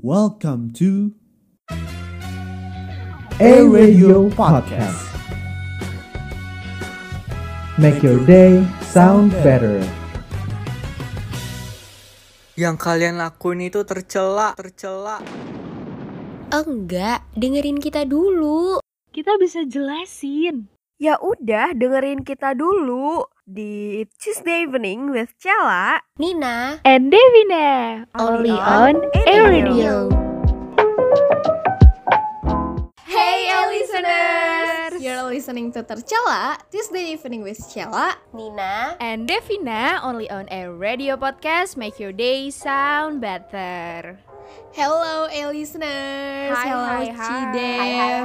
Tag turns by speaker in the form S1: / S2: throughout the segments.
S1: Welcome to
S2: A Radio Podcast. Make your day sound better.
S3: yang kalian lakuin itu tercela, tercela.
S4: Enggak, dengerin kita dulu.
S5: kita bisa jelasin.
S6: Ya udah, dengerin kita dulu di Tuesday Evening with Cella.
S4: Nina,
S5: And Devina, only on Air Radio.
S7: Hey, our listeners! You're listening to Tercela, Tuesday evening with Cella
S4: Nina,
S7: and Devina, only on Air Radio Podcast, make your day sound better. Hello, air listeners!
S4: Hai,
S7: Hello,
S4: hai, hai.
S7: Cidev,
S4: Hai, hai, hai.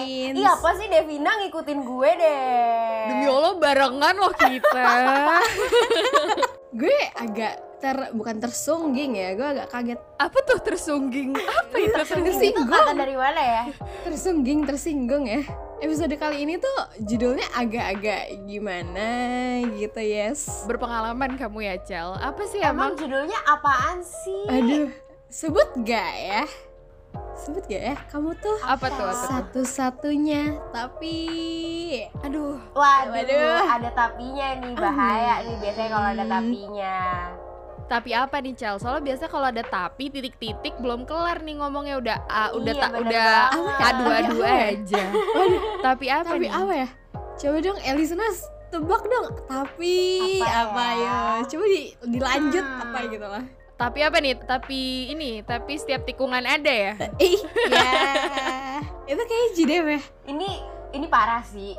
S7: Kanins.
S4: Iya apa sih Devina ngikutin gue deh?
S7: Demi
S5: Ya
S7: Allah, barengan loh kita. gue agak ter bukan tersungging ya gue agak kaget apa tuh tersungging apa itu
S4: Itu kata dari mana ya?
S7: tersungging tersinggung ya episode kali ini tuh judulnya agak-agak gimana gitu yes
S8: berpengalaman kamu ya Cel apa sih
S4: Emang
S8: emang,
S4: judulnya apaan sih?
S7: aduh sebut gak ya sebut gak ya kamu tuh
S8: apa tuh apa tuh?
S7: satu-satunya tapi aduh
S4: Waduh,
S7: Waduh.
S4: ada tapinya nih bahaya nih biasanya kalau ada tapinya.
S8: tapi apa nih Cel soalnya biasa kalau ada tapi titik-titik belum kelar nih ngomongnya udah ah, udah
S4: Iya,
S8: tak
S4: bener
S8: udah Ah,
S4: banget.
S8: adu-adu
S7: Tapi apa ya?
S8: aja tapi apa
S7: tapi
S8: nih
S7: apa ya coba dong Elisenas tebak dong tapi
S4: Apa
S7: apa,
S4: ya?
S7: ya? coba di- dilanjut
S4: Hmm.
S7: apa gitu lah
S8: tapi apa nih tapi ini tapi setiap tikungan ada ya
S7: ih ya itu kayak jidem ya
S4: Ini ini parah sih.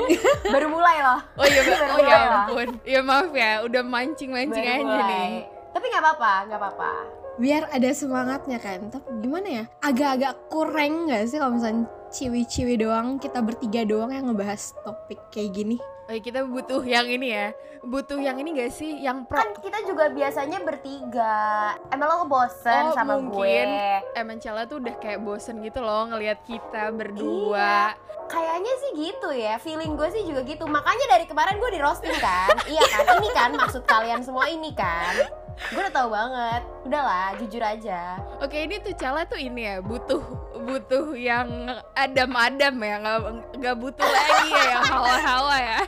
S4: Baru mulai loh.
S8: oh iya Mbak.
S4: Baru
S8: oh ya
S4: mulai lah.
S8: ampun ya maaf ya udah mancing-mancing
S4: Baru
S8: aja
S4: mulai.
S8: nih
S4: Tapi nggak apa-apa, nggak apa-apa.
S7: biar ada semangatnya kan tapi gimana ya agak-agak kurang nggak sih kalau misalnya ciwi-ciwi doang kita bertiga doang yang ngebahas topik kayak gini
S8: oh, kita butuh yang ini ya butuh yang ini gak sih yang pro
S4: Kan kita juga biasanya bertiga. Emang lo bosen
S8: Oh,
S4: sama
S8: mungkin.
S4: gue?
S8: emang Cela Eh, tuh udah kayak bosen gitu loh ngelihat kita berdua
S4: Kayaknya sih gitu ya, feeling gue sih juga gitu Makanya dari kemarin gue di roasting kan Iya kan, ini kan maksud kalian semua ini kan Gue udah tahu banget Udahlah, jujur aja
S8: Oke ini tuh Cala tuh ini ya butuh butuh yang adam-adam ya nggak nggak butuh lagi ya yang hawa-hawa ya.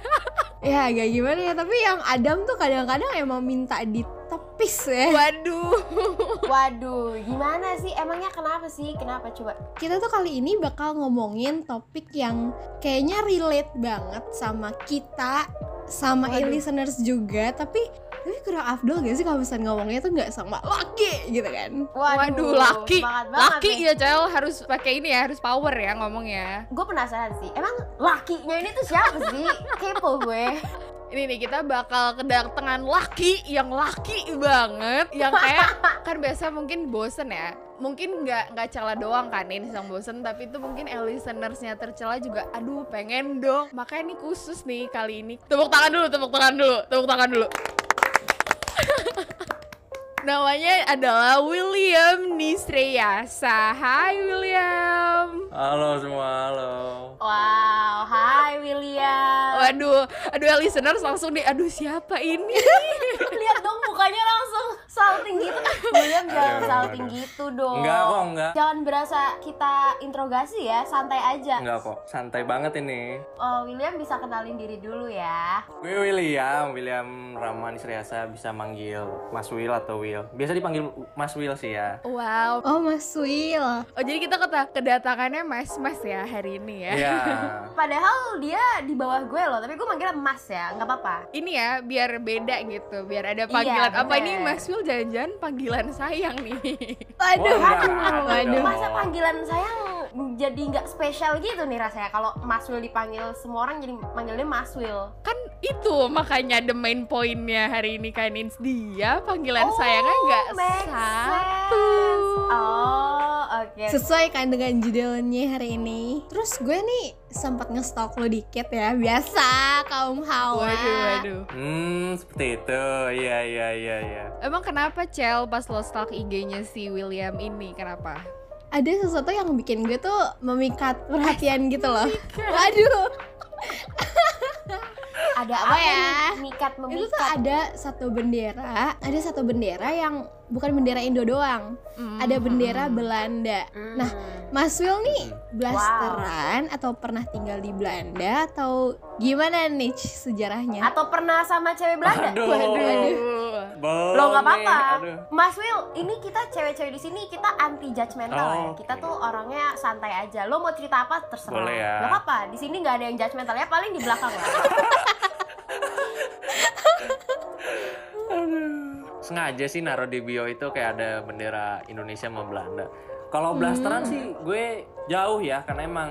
S7: ya agak gimana ya tapi yang Adam tuh kadang-kadang emang minta ditepis ya
S8: Waduh.
S4: Waduh, gimana sih? Emangnya kenapa sih? Kenapa coba?
S7: kita tuh kali ini bakal ngomongin topik yang kayaknya relate banget sama kita sama
S8: Waduh.
S7: listeners juga tapi tapi kurang afdol gak sih kalau misalnya ngomongnya tuh nggak sama laki gitu kan
S8: Waduh, laki.
S4: semangat banget
S8: Laki
S4: nih.
S8: ya Cel harus pakai ini ya harus power ya ngomongnya.
S4: Gue penasaran sih, emang lakinya ini tuh siapa sih? Kepo gue
S8: Ini nih kita bakal kedatangan laki yang laki banget yang kayak kan biasa mungkin bosen ya mungkin nggak nggak cela doang kan ini yang bosen tapi itu mungkin eh, listenersnya tercela juga aduh pengen dong makanya ini khusus nih kali ini tepuk tangan dulu tepuk tangan dulu tepuk tangan dulu namanya adalah William Nisreyasa Hai William
S3: Halo semua, halo.
S4: Wow, hai William
S8: Waduh, aduh eh, listeners langsung nih, aduh siapa ini?
S4: Lihat dong mukanya langsung salting gitu William jangan
S3: Aduh,
S4: salting
S3: aduh.
S4: gitu dong
S3: Iya, Enggak kok, enggak.
S4: Jangan berasa kita interogasi ya, santai aja.
S3: Enggak kok, santai banget ini.
S4: Oh, William bisa kenalin diri dulu ya.
S3: Gue William, William Rahman Sriasa bisa manggil Mas Will atau Will. Biasa dipanggil Mas Will sih ya.
S8: Wow,
S7: oh mas Wil
S8: Oh jadi kita keta- kedatangannya mas-mas ya hari ini ya.
S3: Iya.
S4: Padahal dia di bawah gue loh, tapi gue manggilnya Mas ya, nggak apa-apa.
S8: Ini ya biar beda gitu, biar ada panggilan. Apa
S4: bener.
S8: ini Mas Wil jangan-jangan panggilan sayang nih?
S3: Waduh,
S7: waduh.
S4: Masa panggilan sayang jadi nggak spesial gitu nih rasanya kalau Mas Will dipanggil semua orang jadi manggilnya Mas Will.
S8: kan itu makanya the main pointnya hari ini kan Ins. dia
S4: Oh,
S8: panggilan sayangnya nggak
S4: makes
S8: satu.
S4: sense. Oh,
S8: Iya.
S4: oke.
S7: sesuai kan dengan judulnya hari ini terus gue nih sempat ngestalk lo dikit ya biasa kaum hawa
S8: Waduh, waduh.
S3: Hmm, seperti itu. Iya, iya, iya, iya.
S8: Emang kenapa Cel pas lo stalk IG-nya si William ini? Kenapa?
S7: ada sesuatu yang bikin gue tuh memikat perhatian gitu loh waduh
S4: Ada
S7: Apa
S4: apa
S7: ya?
S4: ya? Mikat
S7: itu tuh
S4: memikat.
S7: ada satu bendera ada satu bendera yang bukan bendera Indo doang ada
S8: Hmm.
S7: bendera Belanda
S4: Hmm.
S7: nah Mas Will nih blasteran atau pernah tinggal di Belanda atau gimana nih Ci, sejarahnya
S4: Atau pernah sama cewek Belanda?
S3: Aduh. Belum
S4: Lo nggak
S3: nih,
S4: apa-apa.
S3: Hmm. aduh.
S4: Mas Will, ini kita cewek-cewek di sini kita anti judgmental ya.
S3: Oh,
S4: Kita
S3: oke.
S4: tuh orangnya santai aja. Lo mau cerita apa terserah.
S3: Boleh ya.
S4: Gak apa-apa. Di sini nggak ada yang judgmental ya. Paling di belakang lah.
S3: Sengaja sih naruh di bio itu kayak ada bendera Indonesia sama Belanda. Kalau blasteran sih gue jauh ya karena emang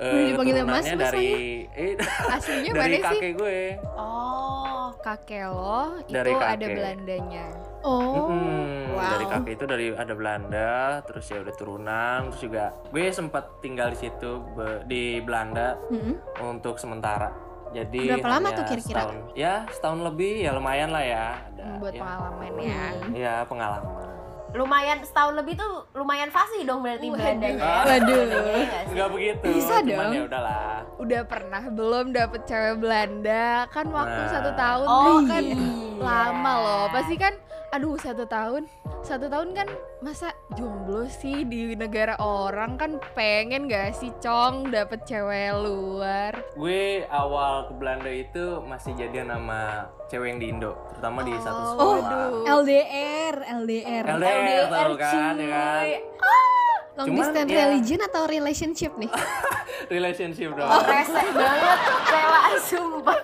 S3: eh,
S7: Udah dipanggilnya Mas,
S3: keturunannya
S7: Mas
S3: dari eh,
S8: Aslinya
S3: dari
S8: mana sih?
S3: kakek gue.
S4: Oh.
S8: Kakek lo itu
S3: Dari
S8: ada
S3: kakek.
S8: Belandanya.
S7: oh
S3: Mm-mm.
S7: wow.
S3: Dari kakek itu dari ada Belanda, terus ya udah turunan, terus juga gue sempat tinggal di situ be- di Belanda
S7: Mm-mm.
S3: untuk sementara. Jadi
S7: Berapa lama
S3: hanya
S7: tuh kira-kira?
S3: Setahun, ya setahun lebih ya lumayan lah ya. Ada,
S8: Hmm, Buat
S3: ya,
S8: pengalaman ya.
S3: ya, pengalaman.
S4: Lumayan setahun lebih tuh lumayan fasih dong berarti ya.
S8: Waduh.
S4: Belandanya.
S7: waduh
S4: Iya nggak sih?
S3: Enggak begitu.
S7: Bisa
S3: cuman
S7: dong.
S3: ya udahlah.
S8: Udah pernah belum dapet cewek Belanda? Kan waktu
S3: Nah.
S8: satu tahun
S4: Oh,
S8: tuh kan
S4: iya.
S8: lama loh. Pasti kan, aduh satu tahun, satu tahun kan masa jomblo sih di negara orang kan pengen gak sih cong dapet cewek luar?
S3: Gue awal ke Belanda itu masih jadian sama cewek yang di Indo, terutama di satu sekolah.
S7: Oh, LDR LDR
S3: LDR tahu kan, ya kan?
S4: cuy.
S7: Ah! long
S3: Cuman
S7: distance
S3: ya-
S7: religion atau relationship nih
S3: Relationship dong.
S4: Oh, rese banget. Rela sumpah.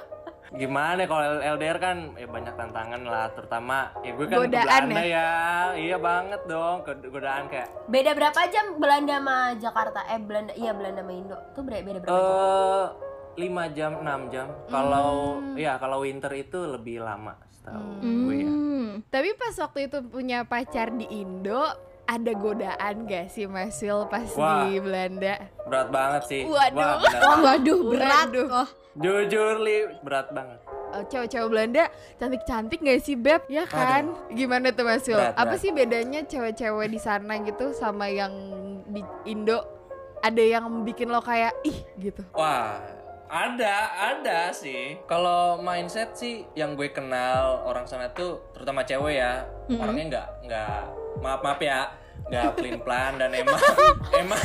S3: Gimana kalau LDR kan ya banyak tantangan lah, terutama ya gue kan ke
S8: Godaan
S3: Belanda ya. Iya banget dong, ke- godaan kayak
S4: Beda berapa jam Belanda sama Jakarta? Eh Belanda, iya Belanda sama Indo. Tuh beda beda berapa jam?
S3: eh 5 jam, 6 jam. Kalau ya kalau winter itu lebih lama setahu gue ya.
S7: Hmm.
S8: Tapi pas waktu itu punya pacar di Indo, ada godaan gak sih Mas Wil pas
S3: Wah.
S8: di Belanda?
S3: Berat banget sih.
S8: Waduh.
S3: Wah, berat.
S7: waduh berat
S8: Waduh.
S7: loh
S3: Jujur li, berat banget.
S8: Eh, Cewek-cewek Belanda cantik-cantik gak sih Beb? Ya kan? Gimana tuh Mas Wil?
S3: Berat,
S8: Apa
S3: berat.
S8: sih bedanya cewek-cewek di sana gitu sama yang di Indo? Ada yang bikin lo kayak ih gitu.
S3: Wah, ada, ada sih. Kalau mindset sih yang gue kenal orang sana tuh terutama cewek ya, orangnya nggak nggak maaf maaf ya, nggak pelin pelan dan emang emang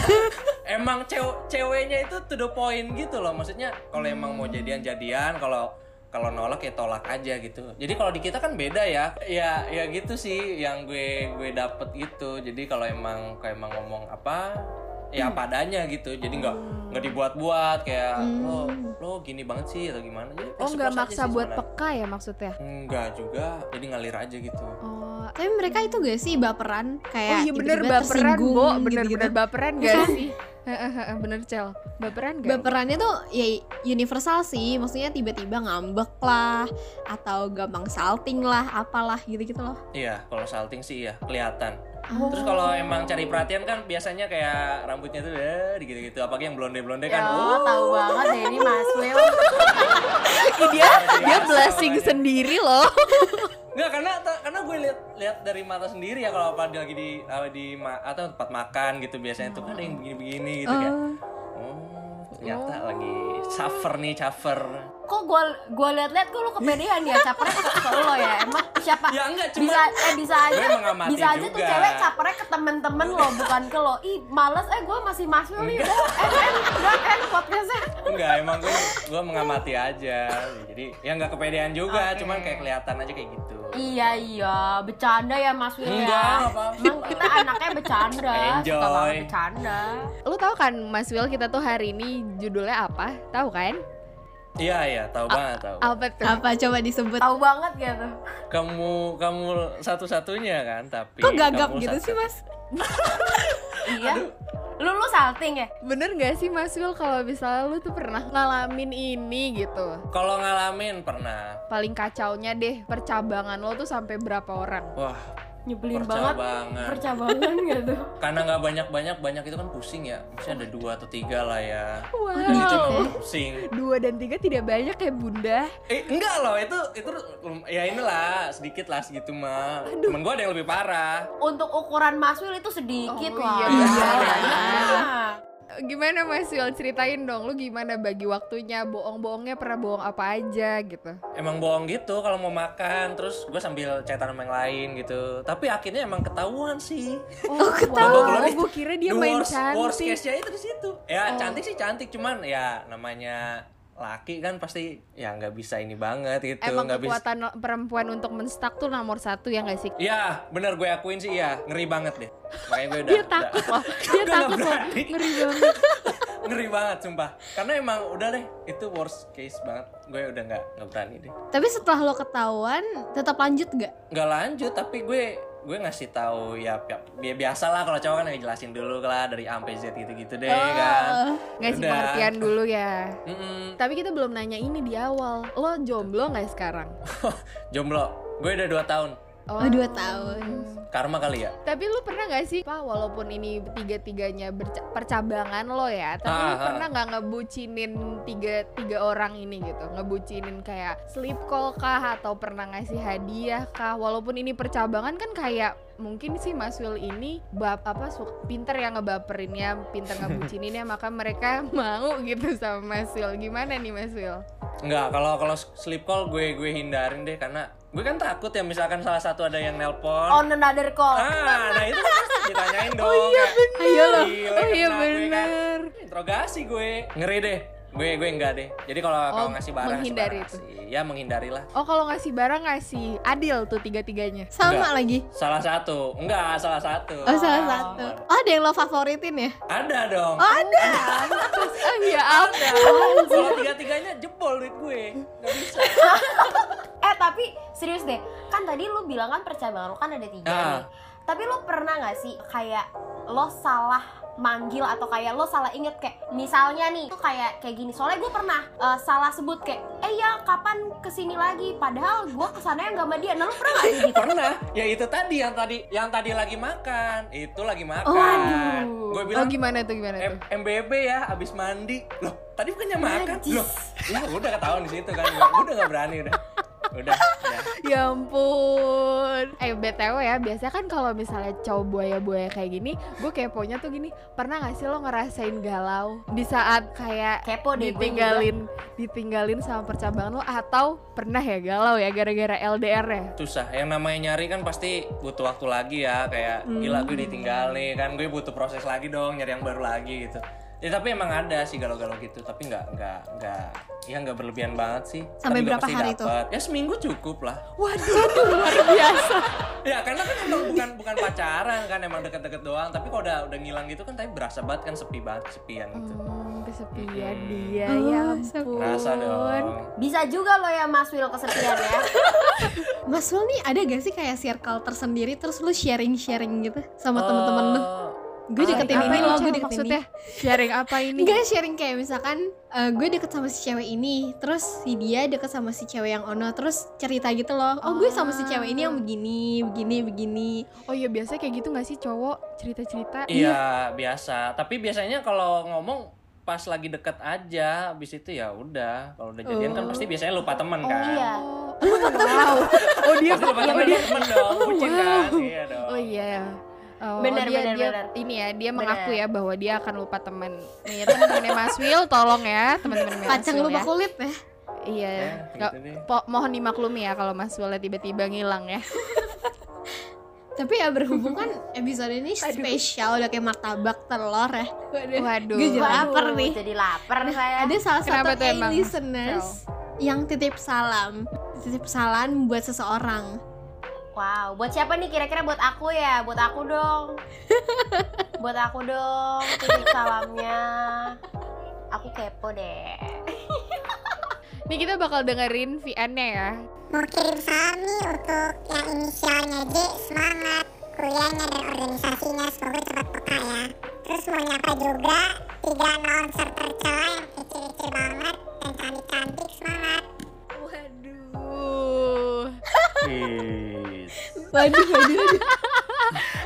S3: emang cew- ceweknya itu to the point gitu loh. Maksudnya kalau emang mau jadian jadian, kalau kalau nolak ya tolak aja gitu. Jadi kalau di kita kan beda ya. Ya ya gitu sih yang gue gue dapet gitu. Jadi kalau emang kalau emang ngomong apa ya padanya gitu jadi nggak
S8: Hmm.
S3: nggak dibuat-buat kayak lo lo gini banget sih atau gimana jadi
S8: Oh Hmm. nggak
S3: plus-plus aja
S8: maksa
S3: sih
S8: buat
S3: sebenarnya.
S8: peka ya maksudnya?
S3: nggak juga jadi ngalir aja gitu
S8: Oh,
S7: tapi mereka itu gak sih baperan
S8: oh
S7: kayak
S8: iya bener
S7: tiba-tiba
S8: baperan,
S7: tersinggung
S8: Bo,
S7: gitu-gitu. Iya
S8: bener-bener baperan gak sih? Hehehe, bener Cel, baperan gak?
S7: baperannya tuh ya universal sih maksudnya tiba-tiba ngambek lah atau gampang salting lah apalah gitu-gitu loh
S3: iya kalau salting sih iya kelihatan terus kalau emang cari perhatian kan biasanya kayak rambutnya tuh ya gitu-gitu apalagi yang blonde-blonde kan
S4: Ya,
S3: uh,
S4: tahu banget deh ini Mas Will.
S8: dia
S3: luar
S8: dia
S3: biasa
S8: blushing
S3: pokoknya.
S8: sendiri loh.
S3: nggak karena ta- karena gue lihat lihat dari mata sendiri ya kalau apa dia lagi di apa di ma- atau tempat makan gitu biasanya tuh kan ada yang begini-begini gitu kayak oh ternyata lagi cafer nih cafer
S4: Kok gua gua liat-liat kok lu kepedean ya capernya ke ke lo ya. Emang siapa?
S3: Ya, enggak, cuma
S4: bisa eh bisa aja
S3: gue mengamati
S4: bisa aja tuh
S3: juga.
S4: cewek capernya ke temen-temen lo bukan ke lo. Ih, males eh gua masih Mas Will nih. udah. Eh, eh, udah eh podcastnya.
S3: Enggak, emang gue gue mengamati aja. Jadi ya nggak kepedean juga, cuman kayak kelihatan aja kayak gitu.
S4: Iya iya, bercanda ya Mas Will ya.
S3: Enggak, nggak apa-apa.
S4: Emang kita anaknya bercanda, suka banget
S3: Enjoy.
S4: bercanda.
S8: Lu tahu kan Mas Will kita tuh hari ini judulnya apa? Tahu kan?
S3: Iya iya, tahu banget tahu.
S8: Apa tuh?
S7: apa coba disebut
S4: Tahu banget gitu.
S3: Kamu kamu satu-satunya kan, tapi
S7: kok gagap
S3: kamu
S7: gitu
S3: satu-
S7: sih mas
S4: Iya. Lu lu salting ya?
S8: Bener gak sih Mas Will kalau misalnya lu tuh pernah ngalamin ini gitu?
S3: Kalau ngalamin pernah.
S8: Paling kacaunya deh percabangan lo tuh sampai berapa orang?
S3: Wah,
S4: nyebelin banget
S3: percabangan.
S4: percabangan gitu
S3: Karena nggak banyak-banyak, banyak itu kan pusing ya. Misalnya ada dua atau tiga lah ya. Dan itu
S8: Wow.
S3: memang pusing.
S8: Dua dan tiga tidak banyak ya bunda
S3: Eh, enggak loh, itu itu lum- ya inilah sedikit lah segitu mah. Temen gue ada yang lebih parah.
S4: untuk ukuran Mas Wil itu sedikit
S8: Oh,
S4: lah
S8: iya,
S4: Iya.
S8: iya. Gimana Mas Wil ceritain dong lu gimana bagi waktunya bohong-bohongnya pernah bohong apa aja gitu.
S3: emang bohong gitu kalau mau makan terus gue sambil chatan sama yang lain gitu tapi akhirnya emang ketahuan sih
S8: Oh,
S3: ketahuan.
S8: wow. gue kira dia Iya,
S3: The
S8: main
S3: worst, worst
S8: cantik. Oh.
S3: case nya itu di situ ya cantik sih cantik cuman ya namanya laki kan pasti ya nggak bisa ini banget gitu
S8: Emang
S3: nggak bisa
S8: kekuatan perempuan untuk menstak tuh nomor satu ya gak sih?
S3: Iya, bener gue akuin sih iya, ngeri banget deh. Makanya gue udah
S8: Dia takut
S3: udah-
S8: loh, dia
S3: Udah nggak
S8: takut loh,
S3: berani.
S8: ngeri banget.
S3: ngeri banget sumpah. Karena emang udah deh, itu worst case banget. Gue udah nggak nggak berani deh.
S7: Tapi setelah lo ketahuan, tetap lanjut gak?
S3: Nggak lanjut, tapi gue gue ngasih tahu ya, ya bi- biasa lah kalau cowok kan ngejelasin dulu lah dari A sampai Z gitu-gitu deh
S8: Oh.
S7: Oh,
S3: kan.
S8: Ngasih
S3: Udah.
S8: pengertian dulu ya.
S3: Mm-mm.
S8: Tapi kita belum nanya ini di awal. Lo jomblo nggak sekarang?
S3: Jomblo, gue udah 2 tahun.
S7: Oh, dua tahun.
S3: Karma kali ya.
S8: Tapi lu pernah nggak sih, Pak, walaupun ini tiga-tiganya berca- percabangan lo ya, tapi lu
S3: Ah, ah.
S8: pernah nggak ngebucinin tiga, tiga orang ini gitu? Ngebucinin kayak sleep call kah, atau pernah ngasih hadiah kah? Walaupun ini percabangan kan kayak mungkin sih Mas Will ini bab apa su- pinter ya ngebaperinnya, pinter ngebucininnya, maka mereka mau gitu sama Mas Will. Gimana nih Mas Will?
S3: Enggak, kalau kalau sleep call gue gue hindarin deh karena gue kan takut ya misalkan salah satu ada yang nelpon.
S8: Oh,
S4: On another call.
S3: Ah, nah itu kan ditanyain dong. Oh iya benar.
S8: Ayo loh.
S3: Gila,
S8: Oh iya
S3: kena gue kan.
S8: bener.
S3: Interogasi gue. Ngeri deh. Gue gue enggak deh. Jadi kalau kalau
S8: Oh,
S3: ngasih barang
S8: menghindari
S3: ngasih barang, ngasih. Ya menghindarilah.
S8: Oh kalau ngasih barang ngasih adil tuh tiga-tiganya.
S7: Sama
S3: Enggak.
S7: lagi.
S3: Salah satu. Enggak, salah satu.
S7: Oh, salah satu. Oh, ada yang lo favoritin ya?
S3: Ada dong.
S8: Oh, Ah ya ampun.
S3: Kalau tiga-tiganya jebol duit gue. Enggak bisa.
S4: Eh tapi serius deh, kan tadi lu bilang kan percabangan lu kan ada tiga
S3: Ah.
S4: nih. Tapi lu pernah nggak sih kayak lo salah manggil atau kayak lo salah inget kayak misalnya nih tuh kayak kayak gini soalnya gue pernah eh, salah sebut kayak eh ya kapan kesini lagi padahal gue kesana yang gak sama dia nah lo pernah gak sih gitu
S3: Pernah. Ya itu tadi yang tadi yang tadi lagi makan. Itu lagi makan.
S4: aduh.
S3: Gue
S8: Oh
S3: bilang
S8: gimana tuh gimana
S3: M-
S8: tuh?
S3: MBB ya abis mandi loh tadi bukannya makan loh iya gua udah ketahuan di situ kan gua gua udah nggak berani udah udah, udah.
S8: Ya ampun. Eh btw ya, biasanya kan kalau misalnya cowok buaya-buaya kayak gini, gue keponya tuh gini. Pernah gak sih lo ngerasain galau di saat kayak
S4: kepo deh gue juga.
S8: ditinggalin, ditinggalin sama percabangan lo atau pernah ya galau ya gara-gara LDR ya?
S3: susah yang namanya nyari kan pasti butuh waktu lagi ya kayak
S7: Hmm.
S3: gila gue ditinggalin kan gue butuh proses lagi dong nyari yang baru lagi gitu ya tapi emang ada sih galau-galau gitu tapi nggak nggak nggak ya nggak berlebihan banget sih
S7: Sampai
S3: Tapi juga
S7: berapa
S3: pasti
S7: hari
S3: dapet. ya seminggu cukup lah
S8: Waduh, luar biasa.
S3: ya karena kan emang bukan bukan pacaran kan emang deket-deket doang tapi kalau udah udah ngilang gitu kan tapi berasa banget kan sepi banget sepian gitu
S8: Hmm, kesepian
S3: Mm-mm.
S8: dia,
S7: Oh,
S8: ya
S7: sepi.
S8: ampun.
S3: Rasa dong.
S4: bisa juga lo ya Mas Wil kesepian ya
S7: Mas Wil nih ada gak sih kayak circle tersendiri terus lo sharing-sharing gitu sama temen-temen lo?
S3: Eh,
S7: Gue deketin
S8: Apa
S7: ini
S8: ini,
S7: lo,
S8: Cel,
S7: gue deketin ini.
S8: maksudnya? Sharing apa ini?
S7: Enggak sharing kayak misalkan eh, gue deket sama si cewek ini, terus si dia deket sama si cewek yang ono, terus cerita gitu loh. Oh, gue sama si cewek ini yang begini, begini, begini.
S8: Oh iya biasanya kayak gitu gak sih cowok cerita-cerita?
S3: Iya biasa. Tapi biasanya kalau ngomong pas lagi deket aja, habis itu ya udah. Kalau udah
S8: Oh.
S3: jadian kan pasti biasanya lupa teman kan.
S4: iya
S8: Wow. Oh dia
S3: Pasti lupa
S8: oh,
S3: teman,
S8: dia.
S3: teman dong,
S8: Oh,
S3: bucin
S8: wow.
S3: kan. Iya dong.
S8: Oh iya. ya. Oh,
S4: Benar,
S8: dia,
S4: benar,
S8: dia,
S4: benar.
S8: ini ya dia
S4: Benar.
S8: mengaku ya bahwa dia akan lupa teman. Nih teman-temannya Mas Will tolong ya teman-teman Mas
S7: Kacang
S8: Will
S7: lupa
S8: ya.
S7: kulit ya.
S8: Iya.
S3: Eh,
S8: Nggak-
S3: gitu deh.
S8: po- mohon dimaklumi ya kalau Mas Will tiba-tiba ngilang ya.
S7: Tapi ya berhubung kan episode ini spesial udah kayak martabak telur ya.
S8: Waduh.
S7: Gue jadi
S4: Waduh,
S7: lapar nih.
S4: jadi lapar saya
S7: Ada salah
S8: Kenapa
S7: satu
S8: tuh
S7: A
S8: emang,
S7: listeners yang titip salam. Titip salam buat seseorang.
S4: Wow, buat siapa nih kira-kira buat aku ya? Buat aku dong. buat aku dong, titip salamnya. Aku kepo deh.
S8: Nih kita bakal dengerin VN-nya ya.
S1: Mau kirim salam nih untuk yang inisialnya J semangat kuliahnya dan organisasinya semoga cepat peka ya. Terus mau nyapa juga tiga announcer tercela yang kecil-kecil banget dan cantik-cantik semangat.
S8: Waduh.
S3: Ih,
S7: Waduh, waduh, waduh.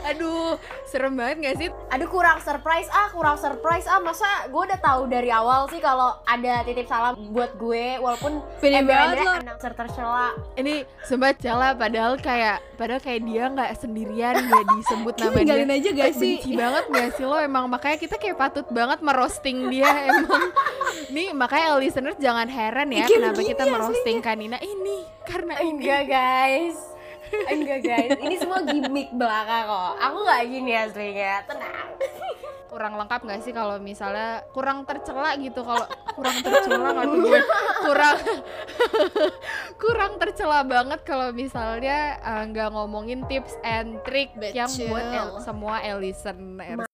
S8: Aduh, Serem banget gak sih?
S4: Aduh kurang surprise ah, kurang surprise ah. Masa gue udah tahu dari awal sih kalau ada titip salam buat gue walaupun
S8: Pede banget
S4: ember-embernya
S8: lo.
S4: announcer tercela.
S8: Ini sempat Cala padahal kayak padahal kayak dia nggak sendirian nggak disebut
S7: Kita
S8: namanya.
S7: ninggalin aja gak sih?
S8: Benci banget gak sih lo emang makanya kita kayak patut banget merosting dia emang. Nih makanya listener jangan heran ya
S7: Bikin
S8: kenapa
S7: gini
S8: kita merosting Kanina ini karena ini.
S4: Enggak guys. Enggak guys, ini semua gimmick belaka kok. Aku nggak gini aslinya, tenang.
S8: kurang lengkap nggak sih kalau misalnya kurang tercela gitu kalau kurang tercela kalau gue kurang kurang tercela banget kalau misalnya eh, nggak ngomongin tips and trick yang buat el- semua listener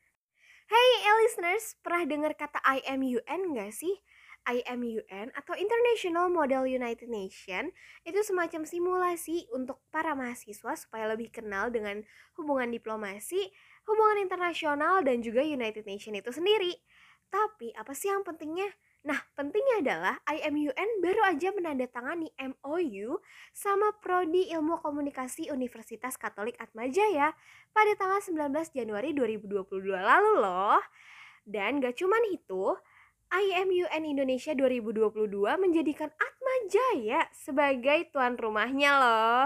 S6: Hey listeners, pernah dengar kata IMUN nggak sih? IMUN atau International Model United Nation itu semacam simulasi untuk para mahasiswa supaya lebih kenal dengan hubungan diplomasi, hubungan internasional dan juga United Nation itu sendiri. Tapi apa sih yang pentingnya? Nah, pentingnya adalah IMUN baru aja menandatangani MOU sama Prodi Ilmu Komunikasi Universitas Katolik Atmajaya pada tanggal 19 Januari 2022 lalu loh. Dan gak cuman itu, IMUN Indonesia 2022 menjadikan Atma Jaya sebagai tuan rumahnya loh.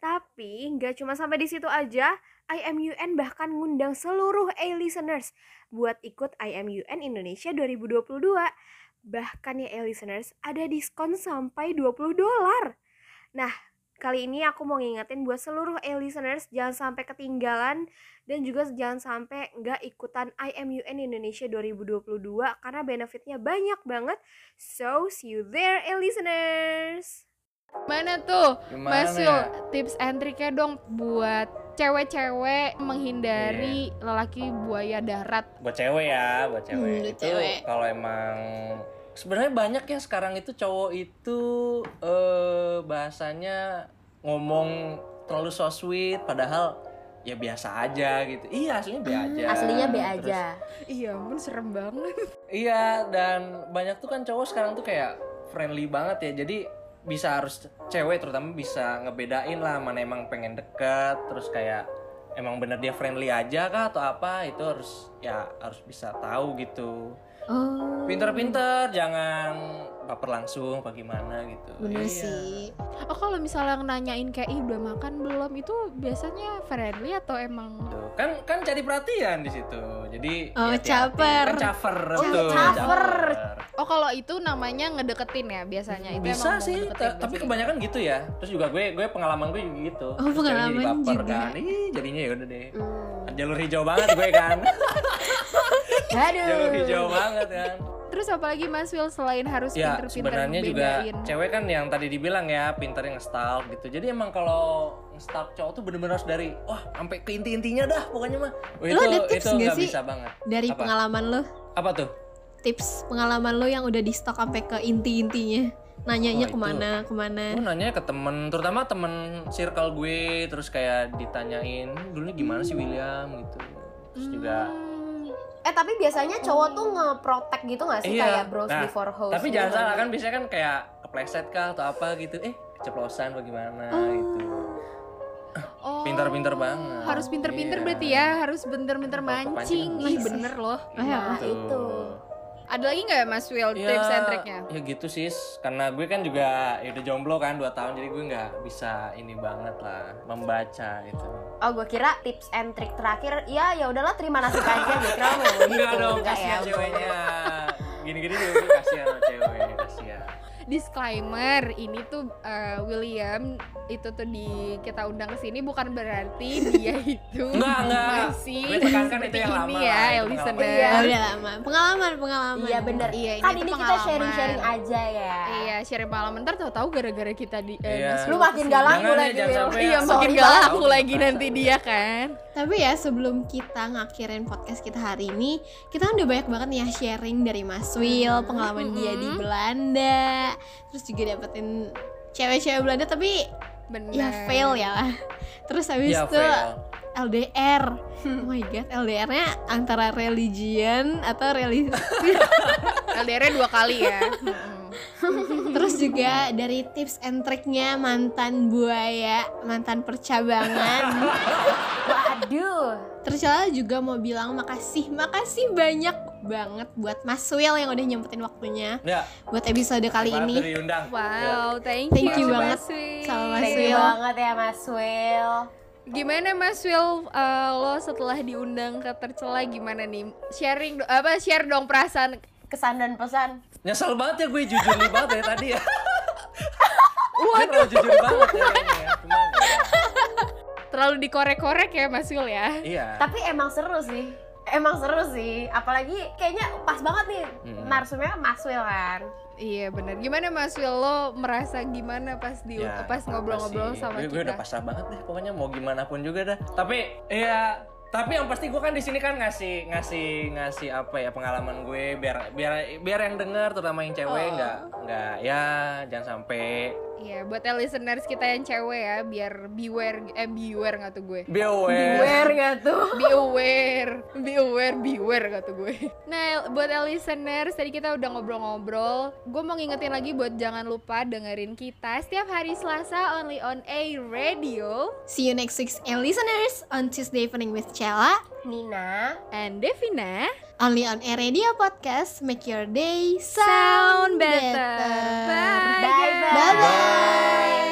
S6: Tapi nggak cuma sampai di situ aja, IMUN bahkan ngundang seluruh A-listeners buat ikut IMUN Indonesia 2022. Bahkan ya A-listeners, ada diskon sampai 20 dolar. Nah, kali ini aku mau ngingetin buat seluruh A-listeners jangan sampai ketinggalan dan juga jangan sampai nggak ikutan IMUN Indonesia 2022 karena benefitnya banyak banget. So, see you there
S7: eh,
S6: A-listeners.
S8: mana tuh
S3: Gimana
S8: Mas Yul,
S3: ya?
S8: tips and triknya dong buat cewek-cewek menghindari
S3: Iya.
S8: lelaki buaya darat
S3: buat cewek ya buat cewek
S7: buat
S3: itu
S7: cewek.
S3: kalau emang sebenarnya banyak ya sekarang itu cowok itu eh bahasanya ngomong terlalu so sweet padahal ya biasa aja gitu iya aslinya be aja
S4: Ya, Aslinya B
S3: Terus-
S4: aja.
S8: iya ampun serem banget
S3: Iya, dan banyak tuh kan cowok sekarang tuh kayak friendly banget ya. Jadi bisa harus cewek terutama bisa ngebedain lah mana emang pengen deket, terus kayak emang bener dia friendly aja kah atau apa itu harus ya harus bisa tahu gitu.
S7: Oh.
S3: Pinter-pinter, jangan baper langsung bagaimana gitu.
S7: Bener
S3: Iya.
S7: sih.
S8: oh kalau misalnya nanyain kayak "Ih, udah makan belum itu biasanya friendly atau emang
S3: Tuh, Kan kan cari perhatian di situ. Jadi
S7: Oh,
S3: hati-hati.
S7: caper. Oh,
S3: Kan caper betul.
S4: caper.
S3: caper.
S8: Oh kalau itu namanya ngedeketin ya biasanya itu
S3: bisa
S8: emang mau
S3: sih
S8: ngedeketin
S3: ta-
S8: biasanya.
S3: tapi kebanyakan gitu ya terus juga gue gue pengalaman gue juga gitu
S7: Oh,
S3: Terus ceweknya jadi
S7: pengalaman
S3: baper
S7: juga.
S3: kan Ih, jadinya ya udah deh
S8: Hmm.
S3: jalur hijau banget gue kan jalur hijau
S4: Aduh.
S3: banget kan
S8: Terus apalagi Mas Will selain harus
S3: ya
S8: pinter-pinter
S3: sebenarnya juga
S8: bedain.
S3: cewek kan yang tadi dibilang ya pintarnya ngestalk gitu jadi emang kalau ngestalk cowok tuh bener-bener harus dari wah sampai ke inti-intinya dah pokoknya mah Wah,
S7: Lo ada tips
S3: itu
S7: nggak
S3: nggak
S7: sih?
S3: bisa banget
S7: Dari
S3: Apa?
S7: pengalaman lo,
S3: apa tuh
S7: tips pengalaman lo yang udah di stok sampai ke inti-intinya. Nanyanya
S3: Oh, itu.
S7: kemana, kemana.
S3: Gue nanya ke temen, terutama temen circle gue, terus kayak ditanyain, dulu
S8: Hmm.
S3: gimana sih William gitu. Terus juga
S4: Eh tapi biasanya cowok tuh ngeprotek gitu nggak sih
S3: Iya.
S4: kayak bros
S3: Nah,
S4: before hoes.
S3: Tapi
S4: gitu.
S3: jangan salah kan biasanya kan kayak kepleset kah atau apa gitu. Eh, keceplosan bagaimana gitu.
S8: Oh,
S3: Pintar-pintar banget.
S8: Harus pinter-pinter
S3: Iya.
S8: berarti ya, harus bener-bener
S3: Kalau kepancing
S8: mancing.
S3: kan
S8: Ih
S3: bisa.
S8: bener loh.
S4: Nah,
S3: Gitu.
S4: itu.
S8: Ada lagi nggak ya Mas Will
S3: Ya,
S8: tips and triknya?
S3: ya gitu sis karena gue kan juga ya udah jomblo kan 2 tahun jadi gue nggak bisa ini banget lah membaca gitu. itu
S4: Oh gue kira tips and trick terakhir ya ya udahlah terima nasib aja gitu. Kira mau gitu.
S3: enggak dong
S4: Enggak ya.
S3: kasihan ceweknya gini-gini juga gue kasihan sama cewek kasihan
S8: Disclaimer, ini tuh eh, William itu tuh di kita undang ke sini bukan berarti dia itu
S3: Enggak, enggak.
S8: masih
S3: Gue tekankan
S8: seperti
S3: itu yang
S8: ini
S3: lama gitu.
S8: ya,
S3: lah, itu
S8: El
S3: pengalaman.
S8: listener.
S7: Oh, udah lama. Pengalaman, pengalaman.
S4: Iya bener.
S8: Iya, ini
S4: kan
S8: tuh
S4: ini kita
S8: pengalaman.
S4: sharing-sharing aja ya.
S8: Iya, share malam ntar tahu-tahu gara-gara kita di eh,
S3: Iya.
S8: Mas
S4: Lu
S8: Will
S4: makin
S8: kesini.
S4: galak
S3: Jangan
S4: lu
S3: ya,
S4: lagi.
S3: jangan
S4: Wil.
S3: sampai
S8: Iya,
S3: Sorry,
S8: makin
S3: Mbak.
S8: galak
S3: Tahu
S8: aku
S3: nih,
S8: lagi
S3: Mbak.
S8: nanti dia kan.
S7: Tapi ya sebelum kita ngakhirin podcast kita hari ini, kita kan udah banyak banget nih ya sharing dari Mas Will, pengalaman dia di Belanda, terus juga dapetin cewek-cewek Belanda tapi
S8: Bener.
S7: ya fail ya lah. Terus habis
S3: ya
S7: itu
S3: fail
S7: LDR. Oh my god, LDR-nya antara religion atau religi.
S8: LDR-nya dua kali ya. Mm-mm.
S7: terus juga dari tips and triknya mantan buaya, mantan percabangan.
S4: Waduh. Aduh.
S7: Tercela juga mau bilang makasih, makasih banyak banget buat Mas Wil yang udah nyempetin waktunya
S3: Ya,
S7: buat episode kali
S3: maaf
S7: ini.
S3: udah diundang.
S8: Wow, thank,
S7: Thank
S3: you
S7: banget
S8: Mas Wil.
S7: sama Mas
S4: Thank you
S8: Iya.
S7: Wil.
S4: banget ya Mas Will.
S8: Gimana Mas Wil eh, lo setelah diundang ke Tercela gimana nih? Sharing do- apa share dong perasaan
S4: Kesan dan pesan.
S3: Nyesel banget ya gue jujur nih banget ya tadi ya. Waduh. terlalu jujur banget ya. kayaknya ya. Cuma ya,
S8: terlalu dikorek-korek ya Mas Wil ya.
S3: Iya.
S4: Tapi emang seru sih. Emang seru sih. Apalagi kayaknya pas banget nih
S3: Mm-mm.
S4: narsumnya Mas Will kan.
S8: Iya benar. Gimana Mas Wil lo merasa gimana pas di
S3: Ya,
S8: pas
S3: apa-apa
S8: ngobrol-ngobrol
S3: sih.
S8: sama
S3: gue, gue
S8: kita?
S3: udah pasrah banget deh pokoknya mau gimana pun juga dah tapi ya tapi yang pasti gue kan di sini kan ngasih ngasih ngasih apa ya pengalaman gue biar biar biar yang denger terutama yang cewek
S7: Oh.
S3: nggak nggak ya jangan sampai
S8: Iya, buat ya listeners kita yang cewek ya biar beware eh beware nggak tuh gue.
S3: be aware
S4: Where gak tuh?
S8: Be aware, be aware, beware kata gue. Nah, buat ya listeners, tadi kita udah ngobrol-ngobrol. Gue mau ngingetin lagi buat jangan lupa dengerin kita setiap hari Selasa only on A Radio
S7: See you next week, and listeners, on Tuesday evening with Cella,
S4: Nina.
S8: and Devina
S7: only on Air Radio Podcast. Make your day sound,
S8: sound better.
S7: better.
S8: Bye.
S4: Bye-bye.
S7: Bye bye.